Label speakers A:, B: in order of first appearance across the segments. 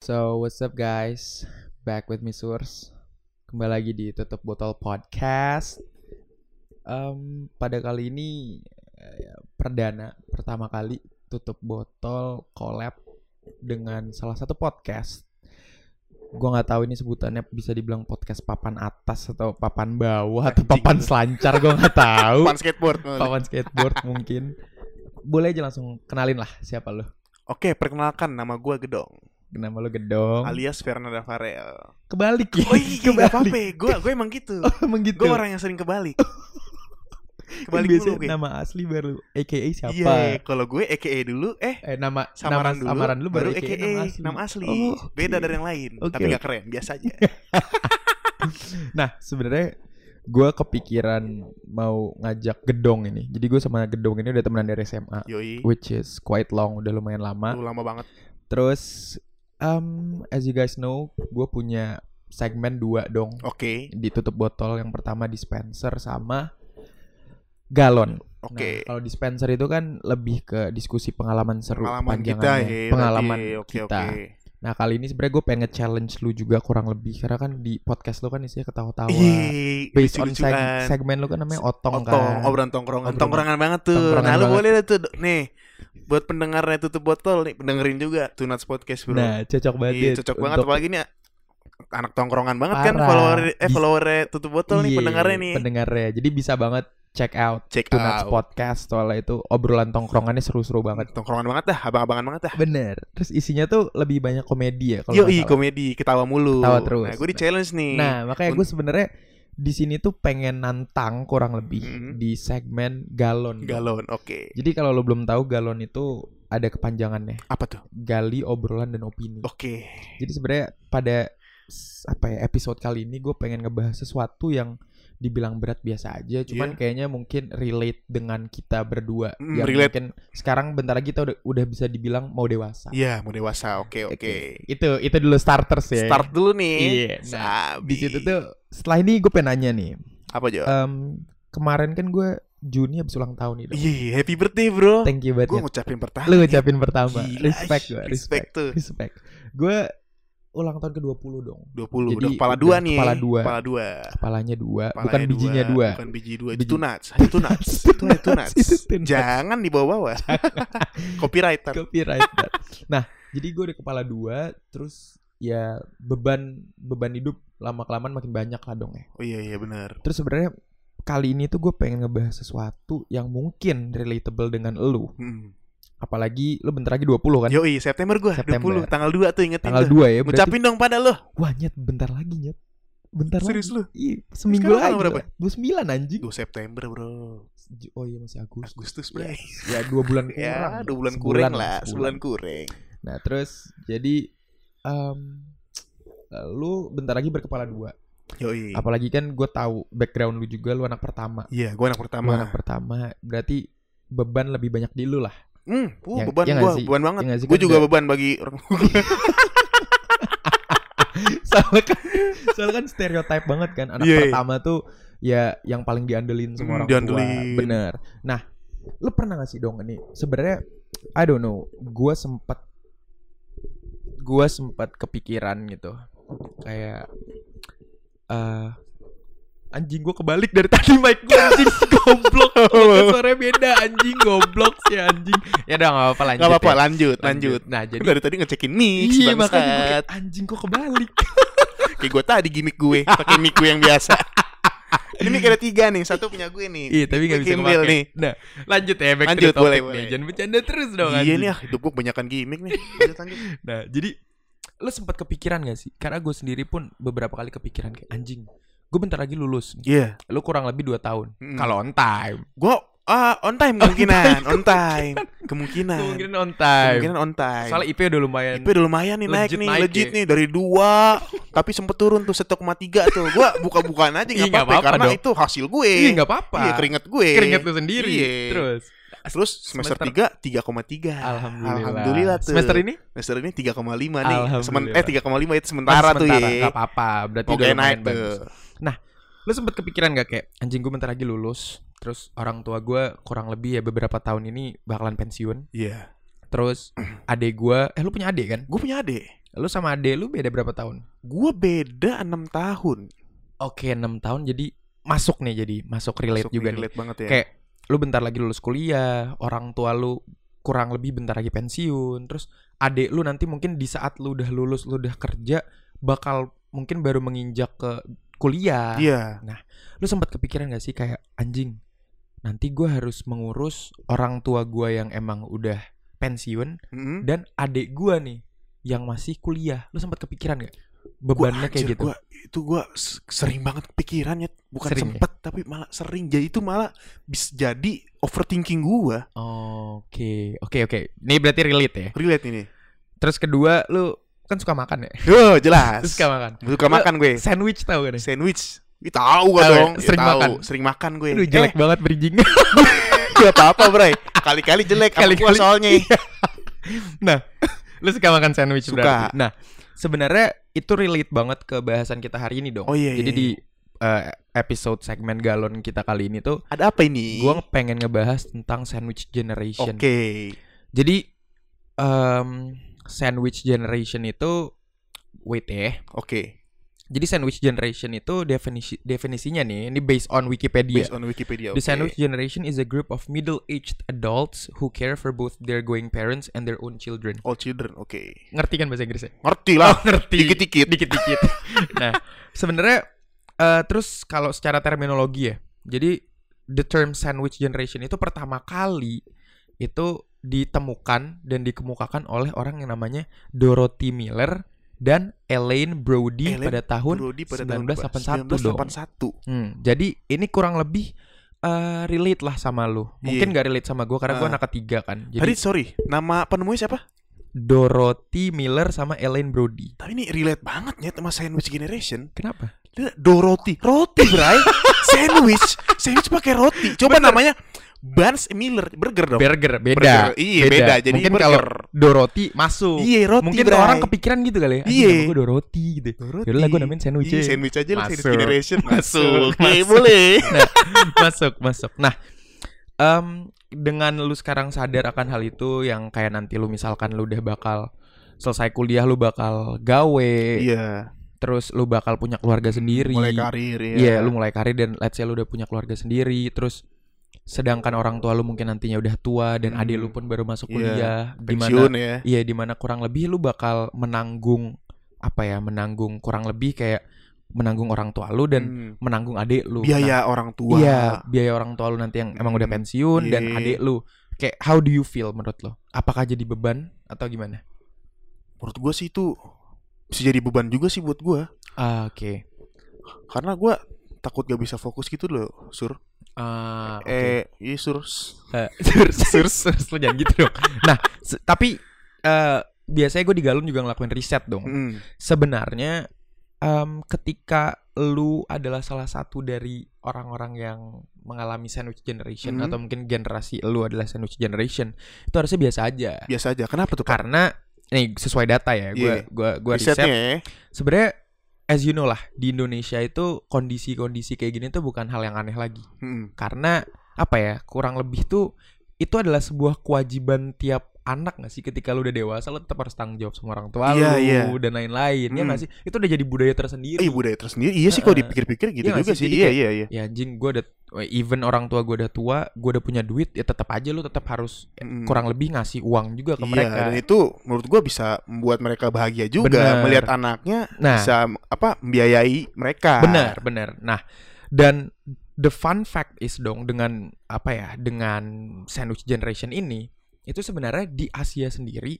A: So what's up guys, back with me Surs. Kembali lagi di Tutup Botol Podcast. Em, pada kali ini eh, perdana pertama kali Tutup Botol collab dengan salah satu podcast. Gua nggak tahu ini sebutannya bisa dibilang podcast papan atas atau papan bawah atau
B: Anjing.
A: papan selancar gua nggak tahu.
B: Pan skateboard.
A: Papan skateboard mungkin. Boleh aja langsung kenalin lah siapa lo.
B: Oke, perkenalkan nama gua Gedong,
A: Nama lo Gedong.
B: alias Fernanda Farel.
A: Kebalik ya.
B: Oh iya,
A: Oh. Kebalik.
B: gak apa-apa. Gua gua emang gitu.
A: Oh, emang gitu.
B: Gua orang yang sering kebalik.
A: Kan
B: Kebalik dulu
A: biasanya
B: gue.
A: nama asli baru AKA siapa?
B: Iya, kalau gue EKE dulu, eh
A: Eh nama nama
B: samaran dulu,
A: samaran lu baru,
B: EKE, nama asli.
A: Oh, oke.
B: Beda dari yang lain,
A: Oke, Iya.
B: tapi gak keren, biasa aja.
A: Nah, sebenarnya gue kepikiran mau ngajak Gedong ini. Jadi gue sama Gedong ini udah temenan dari SMA,
B: Yoi.
A: which is quite long, udah lumayan lama.
B: Lu lama banget.
A: Terus um, as you guys know, gue punya segmen dua dong.
B: Oke,
A: Ditutup botol yang pertama dispenser sama galon. Nah,
B: oke.
A: kalau dispenser itu kan lebih ke diskusi pengalaman seru
B: Pengalaman kita
A: panjangannya.
B: ya.
A: pengalaman
B: tadi. Oke,
A: kita.
B: oke.
A: Nah, kali ini sebenarnya gue pengen challenge lu juga kurang lebih karena kan di podcast lu kan isinya ketawa-tawa.
B: Iya,
A: Based on seg-
B: lucu-lucuan.
A: segmen lu kan namanya otong,
B: Otong,
A: kan.
B: obrolan tongkrongan,
A: Obrolan.
B: tongkrongan banget tuh.
A: Tongkrongan
B: nah, lu
A: banget.
B: boleh deh tuh nih buat pendengarnya tutup botol nih, dengerin juga Tunats Podcast, Bro.
A: Nah, cocok banget.
B: Iya,
A: ya
B: cocok banget
A: untuk-
B: apalagi nih anak tongkrongan banget kan
A: Parah.
B: follower eh
A: Bis-
B: follower tutup botol nih
A: Iya,
B: pendengarnya nih.
A: Pendengarnya. Jadi bisa banget check out
B: Check
A: Tunas
B: out.
A: Podcast soalnya itu obrolan tongkrongannya seru-seru banget.
B: Tongkrongan banget dah, abang-abangan banget dah.
A: Bener. Terus isinya tuh lebih banyak komedi ya kalau
B: Yo,
A: nggak salah.
B: komedi, ketawa mulu.
A: Ketawa terus.
B: Nah, gue di challenge nih.
A: Nah, makanya gue sebenarnya di sini tuh pengen nantang kurang lebih
B: Mhm.
A: di segmen galon.
B: galon, oke.
A: Jadi kalau lo belum tahu galon itu ada kepanjangannya,
B: Apa tuh?
A: gali obrolan dan opini.
B: Oke.
A: Jadi sebenarnya pada s- apa ya episode kali ini gue pengen ngebahas sesuatu yang dibilang berat biasa aja, cuman
B: Iya.
A: kayaknya mungkin relate dengan kita berdua
B: Mm,
A: yang
B: relate.
A: mungkin sekarang bentar lagi kita udah, udah bisa dibilang mau dewasa.
B: Iya, mau dewasa. Oke, oke.
A: Itu itu dulu starters ya.
B: Start dulu nih.
A: Iya, nah,
B: Sabi.
A: Di situ tuh Eh. setelah ini gue pengen nanya nih.
B: apa Jo?
A: Em, kemarin kan gue Juni habis ulang tahun nih. Dok.
B: Iya, happy birthday, Bro.
A: Thank you
B: Gue
A: banget. ya.
B: ngucapin pertama.
A: Lu ucapin pertama.
B: Gila,
A: respect
B: ih,
A: gue.
B: respect
A: Respect.
B: tuh.
A: Respect. Gue ulang tahun ke-20 dong.
B: 20
A: Jadi
B: udah kepala
A: udah
B: dua nih.
A: kepala dua.
B: Kepala dua.
A: Kepalanya dua,
B: Kepalanya
A: bukan bijinya dua.
B: Bukan biji dua.
A: Biji-
B: Itu nuts. Itu nuts. itu itu nuts.
A: Itu tunas.
B: Jangan dibawa-bawa. Copyright. ntar.
A: Copyright. Dok. nah, jadi gue udah kepala dua, terus ya beban beban hidup lama kelamaan makin banyak lah dong ya.
B: Oh iya iya benar.
A: Terus sebenarnya kali ini tuh gue pengen ngebahas sesuatu yang mungkin relatable dengan elu.
B: Hmm.
A: Apalagi lu bentar lagi 20 kan?
B: Yoi, September gua
A: September.
B: 20 tanggal 2 tuh ingetin
A: Tanggal
B: tuh.
A: 2 ya berarti.
B: Iya, Ngucapin dong pada lo.
A: Wah, nyet bentar lagi nyet. Bentar
B: Serius
A: lagi.
B: lu?
A: Iya, seminggu
B: Sekarang
A: lagi.
B: tanggal berapa?
A: lah. 29 anjing.
B: 2 September, Bro.
A: Ju- Oh iya masih Agustus.
B: Agustus, Bro.
A: Yes. Ya dua bulan kurang.
B: Ya, dua bulan
A: Sebulan
B: kurang
A: lah,
B: lah,
A: sebulan.
B: sebulan kurang.
A: Nah terus jadi em, lu bentar lagi berkepala dua.
B: Yoi.
A: Apalagi kan gue tahu background lu juga lu anak pertama.
B: Iya, gua anak
A: Lu anak
B: pertama.
A: pertama berarti beban lebih banyak di lu lah.
B: Hmm, uh,
A: Ya-
B: beban
A: ya nggak
B: gua,
A: sih?
B: beban banget.
A: Ya nggak sih,
B: Gua
A: kan
B: juga
A: nggak-
B: beban bagi orang.
A: soalnya kan, soalnya kan stereotype banget kan anak
B: Iya, iya.
A: pertama tuh ya yang paling diandelin
B: Hmm,
A: semua orang
B: diandelin.
A: tua. Bener. Nah, lu pernah gak sih dong ini sebenarnya I don't know, gua sempat gua sempat kepikiran gitu. Kayak eh anjing gua kebalik dari tadi mic gua anjing goblok.
B: Iya,
A: Podcast Kan Suaranya beda anjing goblok sih anjing. Ya udah enggak apa-apa lanjut.
B: Enggak apa-apa,
A: ya.
B: lanjut, lanjut.
A: Nah, jadi
B: Dari tadi ngecekin mix,
A: Iya makanya gue
B: bangsat.
A: kayak, anjing kok kebalik
B: Kayak gue tadi gimmick gue pakai mic gue yang biasa. Ini mic ada tiga nih, satu punya gue nih.
A: Iya tapi nggak bisa
B: Gembel
A: kepake.
B: nih.
A: Nah lanjut ya back
B: Lanjut,
A: to the topic
B: boleh,
A: nih.
B: boleh.
A: Jangan bercanda terus dong
B: Iya
A: anjing.
B: nih, ah, hidup gue kebanyakan gimmick nih. Lanjut, lanjut.
A: Nah jadi lo sempat kepikiran gak sih? Karena gue sendiri pun beberapa kali kepikiran kayak anjing. Gue bentar lagi lulus. nih.
B: Iya.
A: Lo kurang lebih 2 tahun.
B: Mm.
A: Kalau on time.
B: Gue ah on time kemungkinan, on time. Kemungkinan.
A: Kemungkinan on time.
B: Kemungkinan Nah, on time.
A: Soalnya IP udah lumayan.
B: IP udah lumayan nih naik
A: Legit
B: nih,
A: naik
B: legit
A: ya.
B: nih dari dua tapi sempet turun tuh 1,3 tuh. Gua buka-bukaan aja
A: Iya,
B: nggak
A: nggak
B: apa-apa
A: apa-apa
B: karena
A: dong.
B: itu hasil gue.
A: Iya nggak apa-apa.
B: Iya, keringet gue.
A: Keringet lo sendiri.
B: Iya.
A: Terus.
B: Terus semester
A: Semester-
B: 3 3,3.
A: Alhamdulillah.
B: Ah, Alhamdulillah tuh.
A: Semester ini?
B: Semester ini 3,5 nih.
A: Alhamdulillah.
B: Semen eh 3,5 itu sementara, tuh ya.
A: Gak apa-apa. Berarti udah
B: Oke
A: lumayan
B: naik
A: bagus.
B: tuh.
A: Lo sempet kepikiran gak kayak anjing gue bentar lagi lulus. Terus orang tua gue kurang lebih ya beberapa tahun ini bakalan pensiun.
B: Iya.
A: Terus adek gue, eh lu punya adek kan?
B: Gue punya adik.
A: Lu sama ade lu beda berapa tahun?
B: Gue beda 6 tahun.
A: Oke, 6 tahun jadi masuk nih jadi masuk relate
B: Masuk
A: juga
B: nih,
A: nih.
B: relate banget ya.
A: Kayak lu bentar lagi lulus kuliah, orang tua lu kurang lebih bentar lagi pensiun, terus adik lu nanti mungkin di saat lu udah lulus, lu udah kerja bakal mungkin baru menginjak ke kuliah.
B: Iya.
A: Lu sempat kepikiran gak sih kayak anjing, nanti gua harus mengurus orang tua gua yang emang udah pensiun
B: Mm-mm.
A: dan adik gua nih yang masih kuliah. Lu sempat kepikiran gak? Bebannya
B: Gua,
A: kayak
B: anjir,
A: gitu.
B: gua- itu gue sering banget kepikirannya bukan
A: Sering ya?
B: sempet tapi malah sering jadi itu malah bisa jadi overthinking gue
A: Oke, oke, oke. Ini berarti relate ya.
B: relate ini
A: Terus kedua, lu kan suka makan ya?
B: oh jelas
A: Terus suka makan.
B: suka makan gue
A: Sandwich tau gak nih?
B: sandwich Ih, tahu gue
A: Tahu ya?
B: dong Ih,
A: Sering
B: tahu.
A: makan.
B: sering makan gue
A: Aduh jelek banget bridging.
B: eh, gak apa apa bray kali-kali jelek kali
A: Kali-kali. Iya.
B: -kali. soalnya
A: Nah, lu suka makan sandwich
B: Suka.
A: berarti. Nah, sebenarnya itu relate banget ke bahasan kita hari ini dong.
B: Oh, iya,
A: Jadi
B: iya,
A: di eh, episode segmen galon kita kali ini tuh
B: ada apa ini
A: gua pengen ngebahas tentang sandwich generation.
B: oke
A: Jadi em, sandwich generation itu wait ya.
B: oke
A: Jadi sandwich generation itu definisi definisinya nih, ini based on Wikipedia.
B: based on
A: Iya.
B: Wikipedia
A: The
B: oke.
A: sandwich generation is a group of middle-aged adults who care for both their going parents and their own children.
B: all children oke
A: Ngerti kan bahasa Inggrisnya?
B: ngerti lah
A: ngerti.
B: dikit-dikit
A: Dikit-dikit. nah, sebenarnya eh, terus kalau secara terminologi ya. Jadi the term sandwich generation itu pertama kali itu ditemukan dan dikemukakan oleh orang yang namanya Dorothy Miller dan Elaine Brody
B: Elaine
A: pada tahun
B: Brody pada
A: 1981
B: tahun
A: dong.
B: 1981
A: Hmm, jadi ini kurang lebih eh, relate lah sama lu. Mungkin
B: Iya.
A: nggak relate sama gue karena gue
B: Ah.
A: anak ketiga kan.
B: Tadi
A: Jadi
B: sorry, nama penemunya siapa?
A: Dorothy Miller sama Elaine Brody.
B: Tapi ini relate banget ya sama sandwich generation.
A: Kenapa?
B: Lihat, Dorothy, roti bray, sandwich, sandwich pakai roti. Coba namanya Buns Miller burger dong.
A: Burger beda.
B: Burger. Iya, beda. Jadi
A: mungkin
B: burger.
A: kalau Dorothy masuk.
B: Iya roti.
A: mungkin
B: bray.
A: orang kepikiran gitu kali ya.
B: Iya.
A: Gue Dorothy gitu.
B: Dorothy.
A: Yaudah lah gue namain sandwich.
B: Iya,
A: aja.
B: sandwich aja lah sandwich
A: Masuk.
B: generation
A: Masuk,
B: masuk. Oke,
A: masuk.
B: boleh.
A: masuk, masuk. Nah, em, dengan lu sekarang sadar akan hal itu yang kayak nanti lu misalkan lu udah bakal selesai kuliah lu bakal gawe,
B: Iya,
A: terus lu bakal punya keluarga sendiri.
B: mulai karir ya.
A: Iya, lu mulai karir dan let's say lu udah punya keluarga sendiri, terus sedangkan orang tua lu mungkin nantinya udah tua dan
B: Hmm.
A: adik lu pun baru masuk
B: Iya,
A: kuliah,
B: pensiun
A: gimana?
B: ya.
A: Iya, dimana kurang lebih lu bakal menanggung apa ya? Menanggung kurang lebih kayak menanggung orang tua lu dan
B: Hmm.
A: menanggung adik lu. Nah,
B: biaya orang tua.
A: Iya, biaya orang tua lu nanti yang emang udah
B: Hmm,
A: pensiun dan
B: iya.
A: adik lu. Kayak how do you feel menurut lo? Apakah jadi beban atau gimana?
B: Menurut gua sih itu bisa jadi beban juga sih buat gua
A: Ah, Oke.
B: karena gua takut gak bisa fokus gitu loh, Sur.
A: Ah, oke.
B: Eh, iya Sur.
A: Eh, terus terus terus lo jangan gitu dong. Nah, se- tapi eh, biasanya gue di galon juga ngelakuin riset dong.
B: Mm.
A: Sebenarnya em, ketika lu adalah salah satu dari orang-orang yang mengalami sandwich generation
B: Hmm.
A: atau mungkin generasi lu adalah sandwich generation, itu harusnya biasa aja.
B: Biasa aja. Kenapa tuh? Pak?
A: Karena nih sesuai data ya, gue
B: Iya.
A: gua gua riset
B: risetnya ya.
A: sebenarnya as you know lah di Indonesia itu kondisi-kondisi kayak gini tuh bukan hal yang aneh lagi
B: Mm.
A: karena apa ya kurang lebih tuh itu adalah sebuah kewajiban tiap anak gak sih ketika lu udah dewasa lu tetap harus tanggung jawab sama orang tua
B: Iya,
A: lu
B: iya.
A: dan lain-lain ya
B: Hmm.
A: gak sih itu udah jadi budaya tersendiri
B: Eh budaya tersendiri. Iya sih kalau
A: Heeh.
B: dipikir-pikir gitu
A: Iya nggak
B: juga
A: sih?
B: sih.
A: Jadi
B: Iya
A: kayak-
B: iya iya.
A: ya anjing gue udah even orang tua gue udah tua gue udah punya duit ya tetap aja lu tetap harus eh,
B: Mm.
A: kurang lebih ngasih uang juga ke
B: Iya,
A: mereka
B: dan itu menurut gua bisa membuat mereka bahagia juga
A: Benar.
B: melihat anaknya
A: nah
B: bisa apa membiayai mereka.
A: Benar, benar. Nah, dan the fun fact is dong dengan apa ya, dengan sandwich generation ini itu sebenarnya di Asia sendiri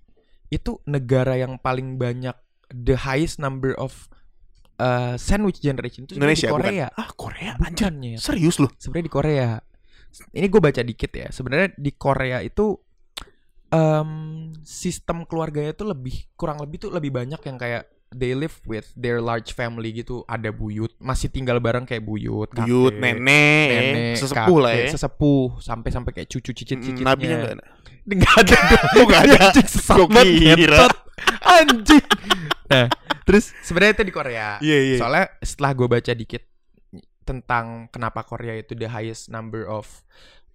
A: itu negara yang paling banyak the highest number of uh, sandwich generation itu sebenarnya
B: Indonesia
A: di
B: bukan?
A: Korea.
B: Ah Korea anjir.
A: Bukan ya.
B: Serius loh.
A: Sebenarnya di Korea. Ini gue baca dikit ya. Sebenarnya di Korea itu em, sistem keluarganya tuh lebih kurang lebih tuh lebih banyak yang kayak they live with their large family gitu. Ada buyut, masih tinggal bareng kayak buyut, kakek,
B: Buyut, nenek,
A: nenek,
B: sesepuh lah
A: kakek,
B: ya.
A: sesepuh sampai sampai kayak cucu cicit
B: Mm,
A: cicitnya.
B: Nabinya enggak ada.
A: Nggak ada dong.
B: Oh, nggak ada.
A: Anjing, sesat
B: Gua
A: banget,
B: kira.
A: ngentot. Anjing. Nah, terus sebenarnya itu di Korea.
B: Iya iya.
A: Soalnya setelah gue baca dikit tentang kenapa Korea itu the highest number of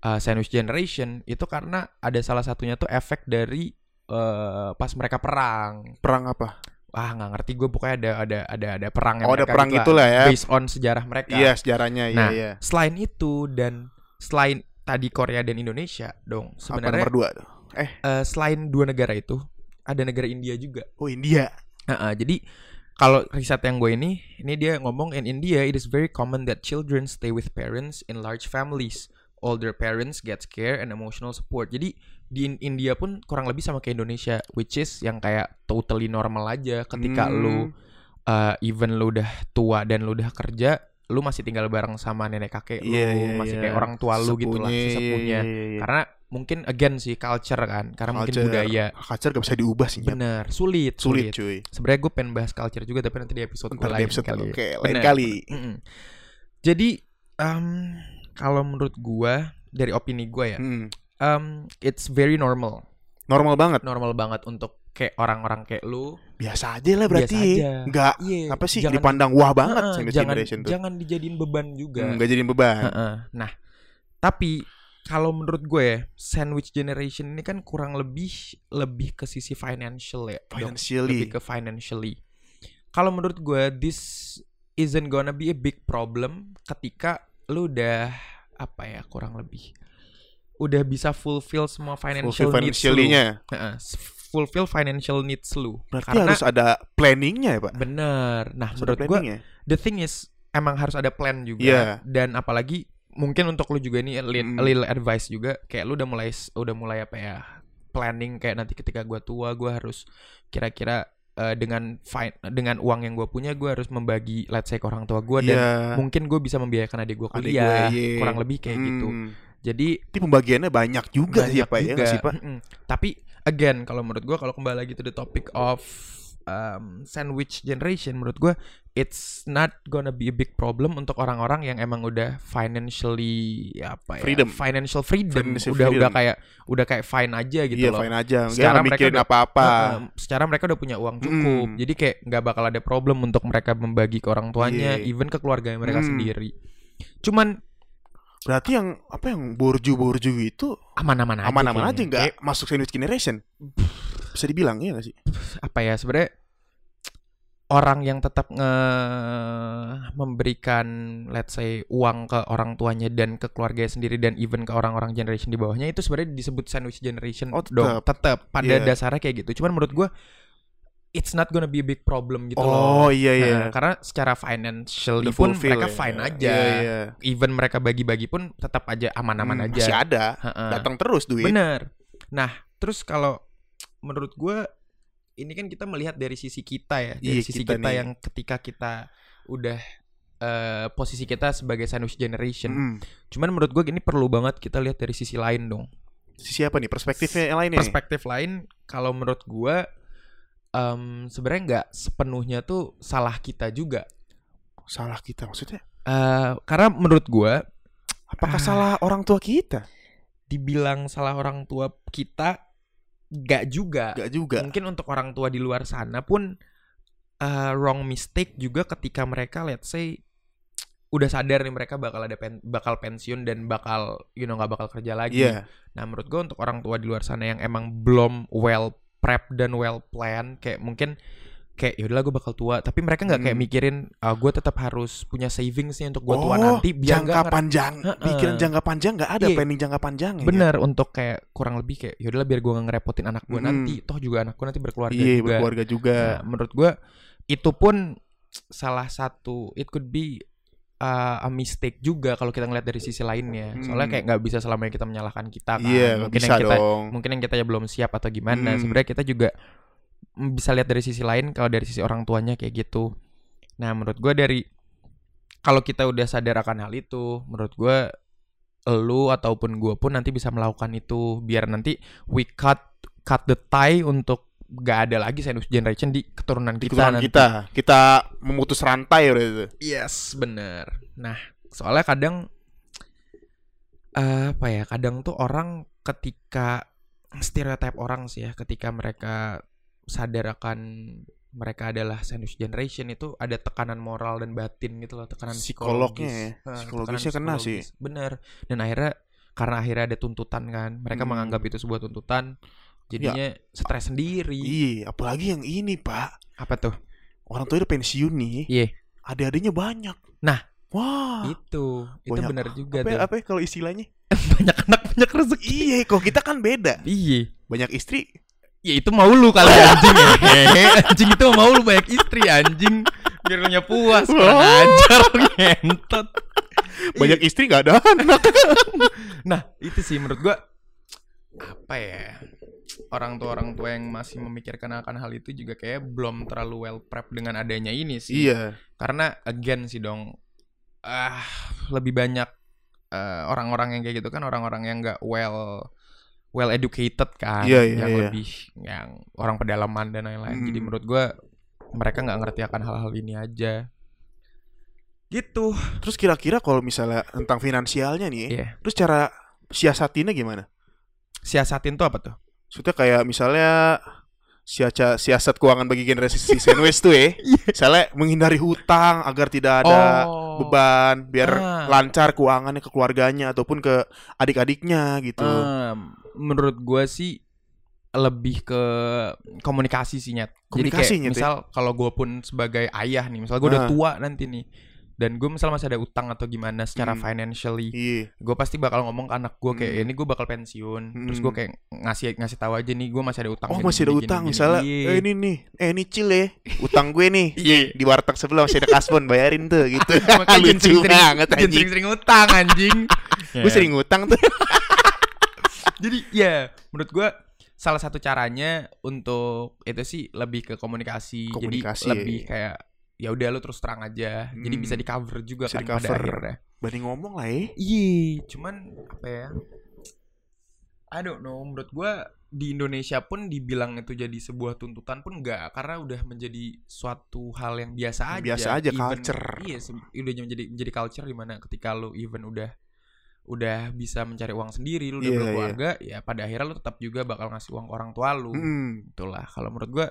A: uh, sandwich generation itu karena ada salah satunya tuh efek dari uh, pas eh, mereka perang
B: Perang apa?
A: ah nggak ngerti gue pokoknya ada ada ada ada perang yang
B: Oh, ada
A: mereka
B: perang
A: gitu
B: itulah ya.
A: based on sejarah mereka.
B: Iya, sejarahnya iya
A: Nah,
B: iya.
A: Selain itu dan selain tadi Korea dan Indonesia dong
B: Apa
A: sebenarnya
B: nomor dua tuh?
A: eh, selain dua negara itu ada negara India juga.
B: Oh, India.
A: Nah, eh, jadi kalau riset yang gue ini, ini dia ngomong in India it is very common that children stay with parents in large families. Older parents get care and emotional support. Jadi di In- India pun kurang lebih sama kayak Indonesia, which is yang kayak totally normal aja. Ketika
B: Hmm.
A: lu eh, even lu udah tua dan lu udah kerja, lu masih tinggal bareng sama nenek kakek lu,
B: Iya, iya,
A: uh, masih
B: iya.
A: kayak orang tua lu gitu lah,
B: Sepupunya, iya,
A: sesepunya.
B: iya, iya, iya.
A: Karena mungkin again sih culture kan, karena mungkin
B: Culture.
A: budaya.
B: Culture gak Ah, bisa diubah sih, Nyet.
A: Bener, sulit,
B: Sulit, cuy.
A: Sebenarnya gue pengen bahas culture juga tapi nanti di episode gue
B: Ntar di
A: lain
B: episode
A: kali.
B: oke, lain
A: Bener. Iya.
B: kali.
A: Mm-mm. Jadi em, kalau menurut gue dari opini gue ya,
B: Hmm.
A: em, it's very normal,
B: Normal banget.
A: normal banget untuk kayak orang-orang kayak lu.
B: Biasa aja lah berarti.
A: Biasa aja.
B: Nggak
A: Iya.
B: apa sih
A: jangan-
B: dipandang wah banget
A: Heeh,
B: sandwich
A: jangan,
B: generation tuh.
A: jangan dijadiin beban juga.
B: Hmm, nggak jadi beban.
A: Heeh. Nah, tapi kalau menurut gue ya, sandwich generation ini kan kurang lebih lebih ke sisi financial ya. dok.
B: Financially.
A: lebih ke financially. Kalau menurut gue this isn't gonna be a big problem ketika lu udah apa ya kurang lebih udah bisa fulfill semua financial
B: Fulfill
A: needs lu.
B: financially-nya.
A: Heeh, s- fulfill financial needs lu.
B: Berarti
A: Karena
B: harus ada planningnya ya, Pak.
A: bener. Nah,
B: Harus ada
A: menurut gue
B: planningnya.
A: the thing is emang harus ada plan juga
B: Iya.
A: dan apalagi mungkin untuk lu juga ini a li-
B: Mm.
A: a little advice juga kayak lu udah mulai s- udah mulai apa ya planning kayak nanti ketika gua tua gua harus kira-kira eh, dengan fi- dengan uang yang gua punya gua harus membagi let's say ke orang tua gua dan
B: Iya.
A: mungkin gue bisa membiayakan adik gua
B: Adik
A: kuliah
B: gue, iya.
A: kurang lebih kayak gitu
B: Hmm.
A: jadi
B: Tapi pembagiannya banyak juga sih ya,
A: banyak
B: Pak ya, nggak sih, Pak?
A: Mm-mm. Tapi again kalau menurut gua kalau kembali lagi to the topic of um, sandwich generation menurut gua it's not gonna be a big problem untuk orang-orang yang emang udah financially apa ya
B: Freedom.
A: financial freedom
B: Financial
A: udah
B: freedom.
A: udah kayak udah kayak fine aja gitu
B: Iya,
A: loh.
B: fine aja. Nggak
A: Sekarang
B: nggak
A: mereka
B: mikirin
A: udah-
B: apa-apa.
A: Heeh, secara mereka udah punya uang cukup,
B: Mm.
A: jadi kayak nggak bakal ada problem untuk mereka membagi ke orang tuanya,
B: Iya.
A: even ke keluarga mereka
B: Mm.
A: sendiri. Cuman
B: Berarti yang apa yang borju-borju itu
A: aman-aman aja.
B: aman-aman aja
A: kayaknya.
B: nggak masuk sandwich generation. Bisa dibilang ya nggak sih?
A: apa ya sebenarnya orang yang tetap nge memberikan let's say uang ke orang tuanya dan ke keluarga sendiri dan even ke orang-orang generation di bawahnya itu sebenarnya disebut sandwich generation
B: Oh,
A: dong tetap pada
B: Iya.
A: dasarnya kayak gitu cuman menurut gua it's not gonna be a big problem gitu loh
B: oh iya iya.
A: Nah, karena secara financially
B: Udah
A: pun
B: fulfill
A: mereka
B: ya.
A: fine aja
B: Iya, iya.
A: even mereka bagi-bagi pun tetap aja aman-aman
B: Hmm,
A: aja Nah.
B: Masih ada.
A: Heeh.
B: Datang terus duit.
A: Benar. Nah, terus kalau menurut gua ini kan kita melihat dari sisi kita ya, dari
B: Iya,
A: sisi
B: kita
A: kita,
B: nih.
A: yang ketika kita udah eh, posisi kita sebagai sandwich generation.
B: Mm.
A: Cuman menurut gua ini perlu banget kita lihat dari sisi lain dong.
B: Sisi apa nih perspektifnya yang lain nih?
A: Perspektif lain kalau menurut gua em, sebenarnya nggak sepenuhnya tuh salah kita juga.
B: Salah kita maksudnya?
A: Eh, karena menurut gua
B: Apakah
A: Ah.
B: salah orang tua kita?
A: dibilang salah orang tua kita nggak juga.
B: Gak juga.
A: mungkin untuk orang tua di luar sana pun uh, wrong mistake juga ketika mereka let's say udah sadar nih mereka bakal ada pen- bakal pensiun dan bakal you know nggak bakal kerja lagi.
B: Iya.
A: Nah menurut gue untuk orang tua di luar sana yang emang belum well prep dan well plan kayak mungkin kayak yaudahlah gue bakal tua tapi mereka nggak kayak
B: Hmm.
A: mikirin "Ah, gue tetap harus punya savings nih untuk gue tua
B: Oh,
A: nanti biar
B: jangka
A: nggak
B: panjang. ya.
A: Heeh.
B: Pikiran jangka panjang nggak ada
A: Iya.
B: planning jangka panjang.
A: bener untuk kayak kurang lebih kayak yaudahlah biar gue nggak ngerepotin anak gue
B: Mm-mm.
A: nanti toh juga anak gue nanti berkeluarga
B: Hmm. Iya,
A: juga
B: berkeluarga juga.
A: Nah, menurut gua itu pun salah satu it could be uh, a mistake juga kalau kita ngeliat dari sisi lainnya. Soalnya
B: Hmm.
A: kayak nggak bisa selamanya kita menyalahkan kita kan.
B: Iya, nggak
A: mungkin
B: bisa
A: yang kita
B: dong.
A: mungkin yang kita ya belum siap atau gimana.
B: Hmm.
A: Sebenarnya kita juga mm, bisa lihat dari sisi lain kalau dari sisi orang tuanya kayak gitu. Nah, menurut gua dari kalau kita udah sadar akan hal itu, menurut gua lu ataupun gua pun nanti bisa melakukan itu biar nanti we cut cut the tie untuk gak ada lagi sandwich generation di keturunan kita
B: Di keturunan
A: nanti.
B: kita, kita memutus rantai udah itu.
A: Yes, bener. Nah, soalnya kadang eh, apa ya? Kadang tuh orang ketika stereotip orang sih ya, ketika mereka sadar akan mereka adalah sandwich generation itu ada tekanan moral dan batin gitu loh, tekanan
B: Psikolognya ya.
A: psikologis. Eh,
B: Psikologisnya
A: tekanan
B: kena sih.
A: psikologis. Bener. Dan akhirnya karena akhirnya ada tuntutan kan, mereka
B: Hmm. Ya.
A: menganggap itu sebuah tuntutan. Jadinya stres sendiri.
B: Iya, apalagi yang ini, Pak.
A: Apa tuh?
B: Orang tua udah pensiun nih.
A: Iya.
B: Adik-adiknya banyak.
A: Nah.
B: Wah.
A: Itu, itu
B: Ah. banyak-
A: benar juga
B: apa,
A: tuh.
B: apa ya kalau istilahnya?
A: banyak anak banyak rezeki.
B: iya, kok kita kan beda.
A: Iya.
B: Banyak istri.
A: Ya itu mau lu kali anjing hehe. Anjing itu mau lu banyak istri anjing Biar lu nya puas Kurang ajar ngentot
B: Banyak istri gak ada anak.
A: Nah itu sih menurut gua Apa ya Orang tua-orang tua yang masih memikirkan akan hal itu juga kayak belum terlalu well prep dengan adanya ini sih
B: iya.
A: Karena again sih dong ah Lebih banyak eh, orang-orang yang kayak gitu kan orang-orang yang gak well well educated kan
B: Iya, iya,
A: yang
B: iya.
A: lebih yang orang pedalaman dan lain-lain jadi
B: Hmm.
A: menurut gua mereka nggak ngerti akan hal-hal ini aja gitu
B: Terus kira-kira kalau misalnya tentang finansialnya nih,
A: Iya.
B: terus cara siasatinnya gimana?
A: siasatin tuh apa tuh
B: Maksudnya kayak misalnya siaca, siasat keuangan bagi generasi sandwich tuh ya. Misalnya menghindari hutang agar tidak
A: Iya.
B: ada
A: Oh.
B: beban biar
A: Ah.
B: lancar keuangannya ke keluarganya ataupun ke adik-adiknya gitu.
A: Em, menurut gua sih lebih ke komunikasi sih nyet
B: Komunikasi,
A: jadi kayak
B: Nyet, ya?
A: misal kalau gua pun sebagai ayah nih misal gua udah
B: Ah.
A: tua nanti nih dan gue misal masih ada utang atau gimana secara
B: Hmm.
A: financially
B: Iya.
A: gue pasti bakal ngomong ke anak gue kayak
B: Hmm.
A: ini gue bakal pensiun terus
B: Hmm.
A: gue kayak ngasih ngasih tahu aja nih gue masih ada utang
B: Oh
A: gini,
B: masih ada
A: gini, gini,
B: utang
A: gini.
B: misalnya
A: Iya.
B: eh, ini nih eh ini cil ya utang gue nih
A: Iya.
B: di warteg sebelah masih ada kasbon bayarin tuh gitu
A: Makanya jangan
B: lucu
A: sering-sering-
B: banget
A: jangan
B: anjing
A: sering-sering utang anjing Iya,
B: gue sering utang tuh
A: jadi ya menurut gue salah satu caranya untuk itu sih lebih ke komunikasi,
B: Komunikasi,
A: jadi lebih
B: ya.
A: kayak ya udah lu terus terang aja jadi
B: Hmm.
A: bisa di cover juga
B: Bisa
A: kan pada
B: di-cover.
A: akhirnya
B: Bani ngomong lah ya
A: iya cuman apa ya I don't know menurut gue di Indonesia pun dibilang itu jadi sebuah tuntutan pun enggak karena udah menjadi suatu hal yang biasa aja
B: Biasa aja, culture.
A: iya se- udah menjadi menjadi culture di mana ketika lu even udah udah bisa mencari uang sendiri lu udah
B: Iya,
A: berkeluarga ya pada akhirnya lu tetap juga bakal ngasih uang ke orang tua lu
B: Mm,
A: itulah kalau menurut gua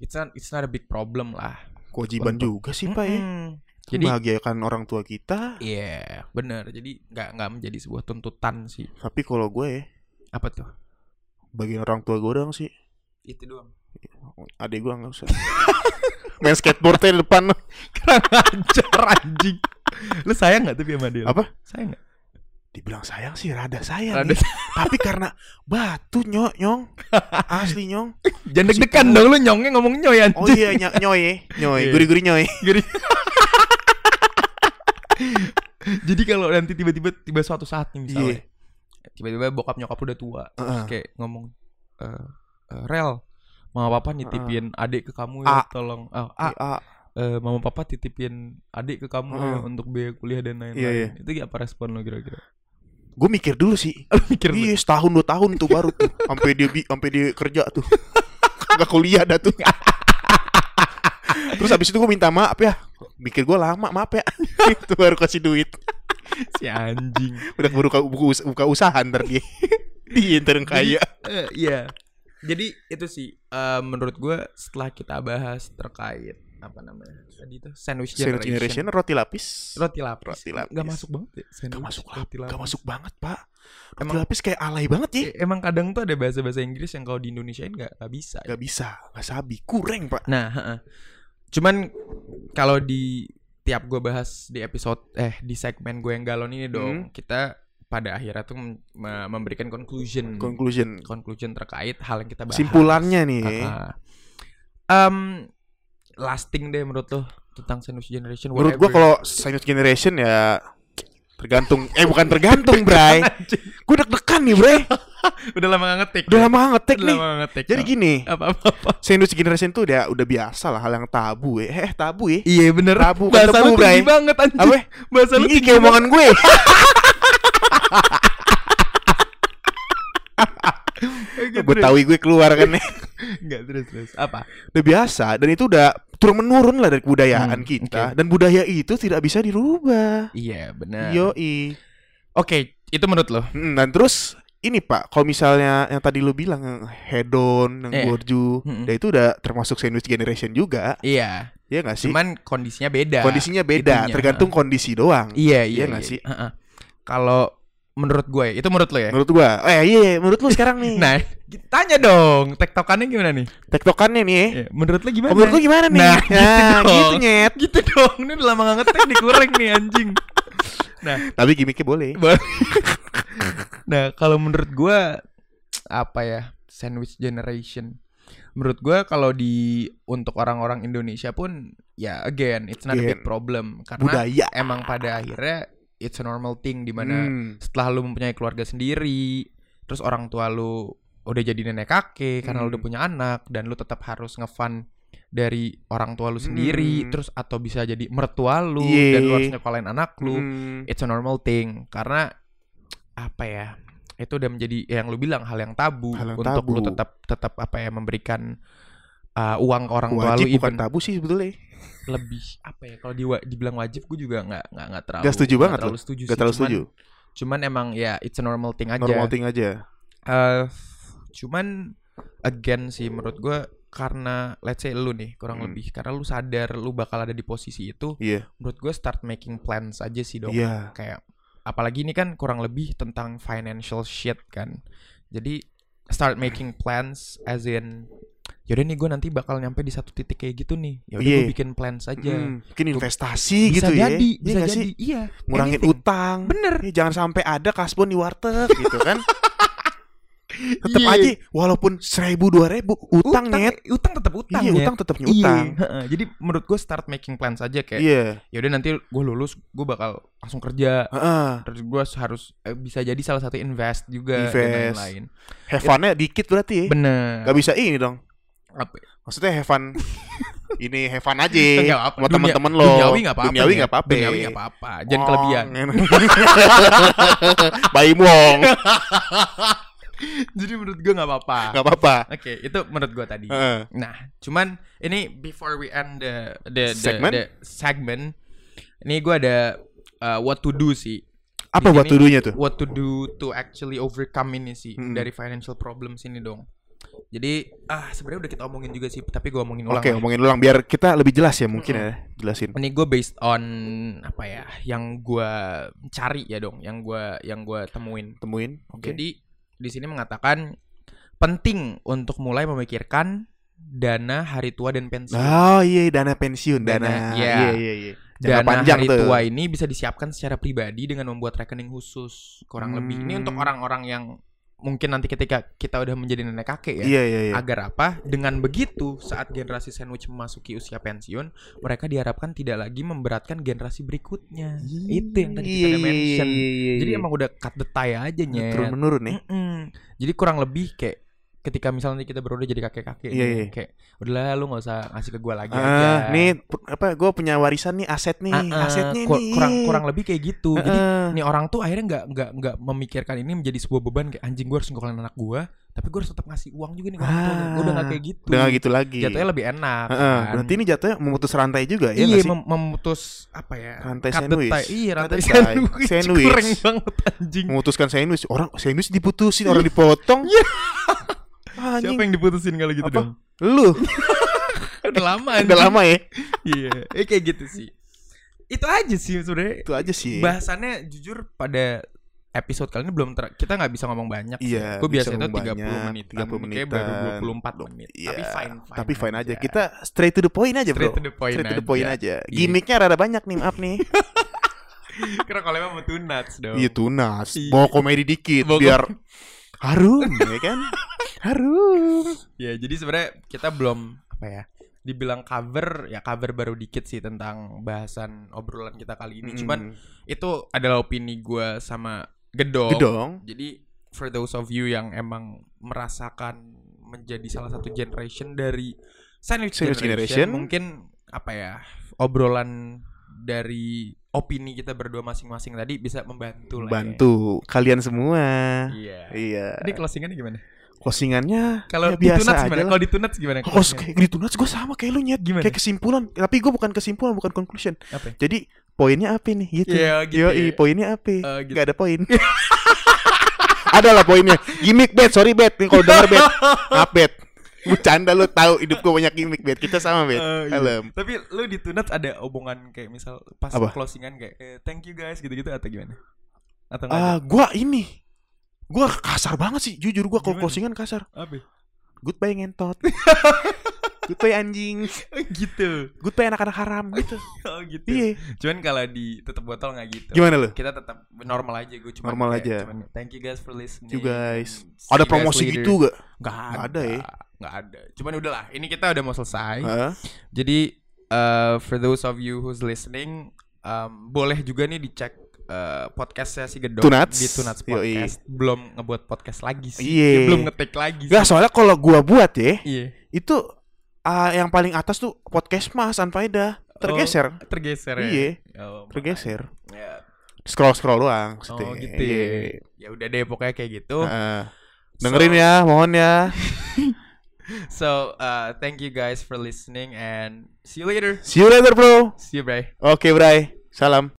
A: it's not it's not a big problem lah
B: kewajiban juga sih pak ya
A: Mm-mm.
B: jadi
A: jadi
B: bahagiakan orang tua kita
A: iya bener jadi nggak nggak menjadi sebuah tuntutan sih
B: tapi kalau gue ya
A: apa tuh
B: bagian orang tua gue doang sih
A: itu doang
B: adek gue nggak usah main skateboardnya di depan
A: ajar anjing lu sayang nggak tapi sama dia
B: Apa?
A: sayang nggak
B: dibilang sayang sih rada sayang
A: Rada
B: ya. tapi karena batu nyok nyong asli nyong
A: jangan deg-degan dong lu nyongnya ngomong nyoy anjing
B: oh iya ny- nyoy ya. nyoy
A: Iya.
B: gurih gurih nyoy
A: Jadi Jadi kalau nanti tiba-tiba tiba suatu saat nih misalnya. Tiba-tiba bokap nyokap udah tua, terus
B: Iya. Heeh.
A: kayak ngomong eh, eh, Rel, mama papa nitipin adik ke kamu
B: A.
A: ya, tolong. Oh,
B: Ah,
A: Ah. A, eh, mama papa titipin adik ke kamu ya
B: Heeh.
A: untuk biaya kuliah dan lain-lain.
B: Iya, iya.
A: Itu kayak apa respon lo kira-kira?
B: gue mikir dulu sih
A: Mikir lu.
B: iya setahun dua tahun tuh baru tuh sampai dia bi- sampai dia kerja tuh nggak kuliah dah tuh terus habis itu gue minta maaf ya mikir gue lama maaf ya itu baru kasih duit
A: si anjing.
B: udah baru buka, buka, us- buka usaha ntar dia di intern kaya
A: Eh, Iya. Jadi itu sih eh, menurut gue setelah kita bahas terkait apa namanya tadi itu sandwich
B: Sandwich
A: generation.
B: generation roti lapis
A: roti lapis.
B: Roti lapis.
A: Gak masuk banget ya.
B: Gak masuk lah,
A: roti
B: gak
A: lapis.
B: masuk banget pak. Roti
A: Emang-
B: lapis kayak alay banget ya.
A: Eh, Emang kadang tuh ada bahasa-bahasa Inggris yang kalau di Indonesiain gak, nggak bisa. ya.
B: Gak bisa, gak sabi, kurang pak.
A: Nah, heeh. cuman kalau di tiap gue bahas di episode eh di segmen gue yang galon ini
B: Hmm.
A: dong, kita pada akhirnya tuh mem- me- memberikan conclusion
B: Conclusion,
A: conclusion terkait hal yang kita Hmm. bahas. Ah,
B: simpulannya nih.
A: Heeh. Em, lasting deh menurut lo tentang sandwich generation.
B: Menurut
A: whatever.
B: gua kalau sandwich generation ya tergantung, eh bukan tergantung Bray.
A: Anjing,
B: Gue deg-degan nih Bray,
A: udah lama gak ngetik.
B: udah lama ngetek
A: Iya. Udah
B: nih.
A: lama Iya. ngetik.
B: Jadi gini,
A: apa-apa.
B: sandwich generation tuh udah udah biasa lah hal yang tabu ya. Eh tabu ya.
A: Iya bener
B: Tabu,
A: Bahasa
B: ketemu,
A: lu tinggi
B: Bray.
A: banget anjing
B: Apa?
A: Bahasa lu
B: Ini
A: tinggi
B: kayak omongan gue.
A: banget.
B: Betawi gue keluar kan nih.
A: Enggak terus terus Apa?
B: Udah biasa dan itu udah turun menurun lah dari kebudayaan
A: Hmm,
B: kita dan budaya itu tidak bisa dirubah.
A: Iya bener
B: Yoi.
A: Oke itu menurut lo
B: Mm, dan terus ini Pak, kalau misalnya yang tadi lu bilang yang hedon, yang
A: Iya.
B: borju,
A: Mm-mm.
B: ya itu udah termasuk sandwich generation juga,
A: Iya
B: ya nggak sih?
A: Cuman kondisinya beda
B: Kondisinya beda,
A: itunya.
B: tergantung kondisi doang.
A: Iya iya
B: Iya nggak sih?
A: Heeh. Kalau menurut gue itu menurut lo ya
B: Menurut gua, eh iya, iya, menurut lu sekarang nih.
A: nah tanya dong tektokannya gimana nih
B: Tektokannya nih. ya.
A: Ya, menurut lo gimana
B: Oh, menurut lu gimana nih?
A: Nah, gitu dong.
B: gitu nyet.
A: gitu dong ini udah lama nggak ngetek dikurang nih anjing nah
B: Tapi gimmicknya boleh.
A: Ba- nah kalau menurut gua apa ya sandwich generation menurut gua kalau di untuk orang-orang Indonesia pun ya again it's not a big
B: Again.
A: problem karena
B: Budaya.
A: emang pada akhirnya it's a normal thing dimana
B: Hmm.
A: setelah lu mempunyai keluarga sendiri terus orang tua lu udah jadi nenek kakek karena lu
B: Hmm.
A: udah punya anak dan lu tetap harus ngefan dari orang tua lu sendiri
B: Hmm.
A: terus atau bisa jadi mertua lu dan lu
B: Ye.
A: harus nyekolahin anak lu
B: Hmm.
A: it's a normal thing karena apa ya itu udah menjadi ya yang lu bilang hal yang tabu
B: Hal yang
A: untuk lu
B: tabu.
A: tetap tetap apa ya memberikan uh, uang ke orang tua lu
B: Wajib bukan
A: even Iya
B: tabu sih sebetulnya.
A: lebih apa ya kalau diwa- dibilang wajib gue juga nggak nggak nggak terlalu
B: Nggak setuju banget
A: terlalu setuju
B: Gak
A: sih,
B: terlalu
A: cuman-
B: setuju.
A: cuman emang ya it's a normal thing aja
B: Normal thing aja.
A: Eh, cuman again sih menurut gue karena let's say lu nih kurang
B: Hmm.
A: lebih karena lu sadar lu bakal ada di posisi itu
B: Iya.
A: menurut gue start making plans aja sih dong
B: Iya.
A: kayak apalagi ini kan kurang lebih tentang financial shit kan jadi start making plans as in yaudah nih gue nanti bakal nyampe di satu titik kayak gitu nih yaudah udah
B: Iya.
A: gue bikin plans aja
B: Hmm, Mungkin investasi
A: bisa
B: gitu ya.
A: jadi
B: Iya
A: bisa
B: nggak
A: jadi
B: sih?
A: iya
B: Ngurangin
A: anything.
B: utang.
A: bener
B: Ya, jangan sampai ada kasbon di warteg gitu kan. Tetap
A: Iya.
B: aja walaupun seribu dua ribu utang, net.
A: utang tetap utang
B: Iya
A: Nyet.
B: utang tetap
A: Iya,
B: nyutang.
A: heeh. Jadi menurut gue start making plans aja kayak
B: Iya.
A: yaudah nanti gue lulus gue bakal langsung kerja
B: Heeh.
A: terus gue harus eh, bisa jadi salah satu invest juga dan
B: Invest.
A: lain-lain.
B: Have fun-nya dikit berarti ya.
A: Bener.
B: Gak bisa ini dong.
A: Apa?
B: Maksudnya have fun. ini have fun aja.
A: Nggak apa-apa.
B: Sama
A: Dunia-
B: Eh, teman-teman lo.
A: Duniawi nggak apa-apa.
B: Duniawi
A: Nyet.
B: nggak apa-apa. ya. Oh.
A: Duniawi nggak apa-apa. Jangan kelebihan.
B: Baim wong.
A: Jadi menurut gue nggak apa-apa.
B: Gak apa-apa. Eh.
A: Oke, itu menurut gue tadi.
B: Heeh.
A: Nah, cuman ini before we end the the the
B: Segment?
A: the segment, ini gue ada uh, what to do sih.
B: Apa
A: Di
B: buat
A: sini-
B: tuduhnya tuh?
A: what to do to actually overcome ini sih
B: Gitu. Mm-mm.
A: dari financial problems ini dong. Jadi ah sebenarnya udah kita omongin juga sih, tapi gue omongin ulang.
B: Oke,
A: lah.
B: ngomongin ulang biar kita lebih jelas ya mungkin ya. Jelasin.
A: Ini gue based on apa ya yang gue cari ya dong, yang gue yang gua temuin.
B: Temuin. Oke.
A: Jadi di sini mengatakan penting untuk mulai memikirkan dana hari tua dan pensiun.
B: Oh iya dana pensiun dana.
A: Dana, iya.
B: Iya iya iya. Jangka
A: dana
B: panjang
A: hari
B: tuh.
A: tua ini bisa disiapkan secara pribadi dengan membuat rekening khusus kurang lebih. Ini untuk
B: Hmm.
A: orang-orang yang mungkin nanti ketika kita udah menjadi nenek kakek ya.
B: Iya iya iya.
A: Agar apa? Dengan begitu, saat generasi sandwich memasuki usia pensiun, mereka diharapkan tidak lagi memberatkan generasi berikutnya. Itu yang tadi kita
B: Iya,
A: udah
B: iya,
A: mention.
B: iya, iya, iya.
A: Jadi emang udah cut the tie aja nyet.
B: turun menurun nih.
A: Mm-mm. Jadi kurang lebih kayak ketika misalnya kita baru udah jadi kakek-kakek
B: Iya,
A: nih,
B: iya.
A: kayak udahlah lu nggak usah ngasih ke gua lagi aja.
B: Ah, nih pu- apa gue punya warisan nih aset nih,
A: Ah, ah,
B: asetnya
A: kur-
B: nih.
A: kurang kurang lebih kayak gitu.
B: Ah,
A: Jadi
B: ah.
A: nih orang tuh akhirnya nggak nggak nggak memikirkan ini menjadi sebuah beban kayak anjing gua harus ngokolain anak gua, tapi gua harus tetap ngasih uang juga nih ke orang tua.
B: Ah,
A: Gua udah nggak kayak gitu.
B: udah gak gitu lagi.
A: Jatuhnya lebih enak.
B: Ah, ah.
A: kan.
B: Berarti ini jatuhnya memutus rantai juga ya
A: iya
B: nggak sih?
A: mem- memutus apa ya?
B: Rantai
A: cut the
B: sandwich.
A: tie. Iya
B: Cut
A: rantai
B: the tie.
A: sandwich.
B: Sandwich.
A: Kurang banget anjing.
B: Memutuskan sandwich. Orang sandwich diputusin, orang dipotong. Ah,
A: Iya. Siapa
B: Anjing.
A: yang diputusin kalau gitu
B: Apa?
A: dong?
B: Lu
A: Udah lama
B: udah lama ya.
A: Iya. Eh, kayak gitu sih. Itu aja sih sebenarnya.
B: Itu aja sih.
A: Bahasannya jujur pada episode kali ini belum ter- kita nggak bisa ngomong banyak.
B: Iya.
A: Gue
B: bisa
A: biasanya tuh 30
B: banyak,
A: menit.
B: 30 menit.
A: Kayak baru 24 menit.
B: Iya,
A: Tapi fine fine.
B: Tapi fine aja. Kita straight to the point aja,
A: straight
B: Bro.
A: to the point
B: Straight to
A: aja.
B: the point aja.
A: Iya.
B: Gimiknya rada banyak nih, maaf nih.
A: Kira kalau emang mau tunats dong.
B: Iya tunas.
A: Iya.
B: Bawa komedi dikit
A: Bawa
B: biar harum ya kan? Harum.
A: Ya, jadi sebenarnya kita belum apa ya? Dibilang cover, ya cover baru dikit sih tentang bahasan obrolan kita kali ini. Cuman
B: Hmm,
A: itu adalah opini gue sama Gedong.
B: gedong.
A: Jadi for those of you yang emang merasakan menjadi salah satu generation dari sandwich,
B: Sandwich
A: generation,
B: generation.
A: mungkin apa ya obrolan dari opini kita berdua masing-masing tadi bisa membantu lah. ya.
B: Bantu kalian semua.
A: Iya.
B: Iya.
A: Ini closingannya gimana?
B: Closingannya
A: Kalau
B: ya
A: ditunats
B: biasa aja
A: gimana?
B: lah.
A: Kalau ditunats gimana?
B: Oh,
A: closingannya?
B: kayak gitu gue sama kayak lu nyet
A: Gimana?
B: Kayak kesimpulan Tapi gue bukan kesimpulan Bukan conclusion
A: Apa? ya?
B: Jadi poinnya apa nih gitu.
A: Iya, gitu ya.
B: Yoi, poinnya apa?
A: Eh, gitu.
B: Gak ada poin. ada lah poinnya. Gimik bet, sorry bet. Nih kalau denger bet, maaf bet. Bercanda lu tahu hidup gua banyak gimik bet. Kita sama bet.
A: Eh, iya.
B: Helm.
A: Tapi lu di Tunats ada omongan kayak misal pas
B: Apa?
A: closingan kayak eh, thank you guys gitu-gitu atau gimana? Atau nggak
B: Ah,
A: ada?
B: gua ini. Gua kasar banget sih, jujur gua kalau
A: Gimana?
B: closingan kasar.
A: Apa?
B: Goodbye ngentot. Goodbye anjing.
A: gitu.
B: Goodbye anak-anak haram gitu.
A: Oh gitu.
B: Iya.
A: Cuman kalau di tutup botol nggak gitu.
B: Gimana lu?
A: Kita tetap normal aja gue cuma
B: Normal aja.
A: Cuman, thank you guys for listening.
B: You guys.
A: See
B: Ada
A: you guys
B: promosi
A: later.
B: gitu gak?
A: Nggak ada.
B: Nggak ada ya?
A: Nggak ada. Cuman udahlah, ini kita udah mau selesai.
B: Heeh.
A: Jadi eh, for those of you who's listening, um, boleh juga nih dicek eh, podcastnya si Gedong
B: Tunats.
A: di Tunats
B: Yoi. Iya.
A: Podcast. Belum ngebuat podcast lagi sih,
B: Iye.
A: Dia belum ngetik lagi.
B: Nggak,
A: sih.
B: soalnya kalau gua buat ya,
A: Iya,
B: itu ah, yang paling atas tuh podcast Mas Anfaida tergeser.
A: Oh, tergeser.
B: Iya.
A: Ya. Oh,
B: Tergeser.
A: ya.
B: Scroll-scroll
A: Oh
B: doang. maksudnya.
A: gitu.
B: Iya. Nah.
A: Ya. ya udah deh pokoknya kayak gitu.
B: Heeh. Dengerin ya, mohon ya.
A: So uh, thank you guys for listening and see you later.
B: See you later, bro.
A: See you, bye.
B: Oke, Bray. Salam.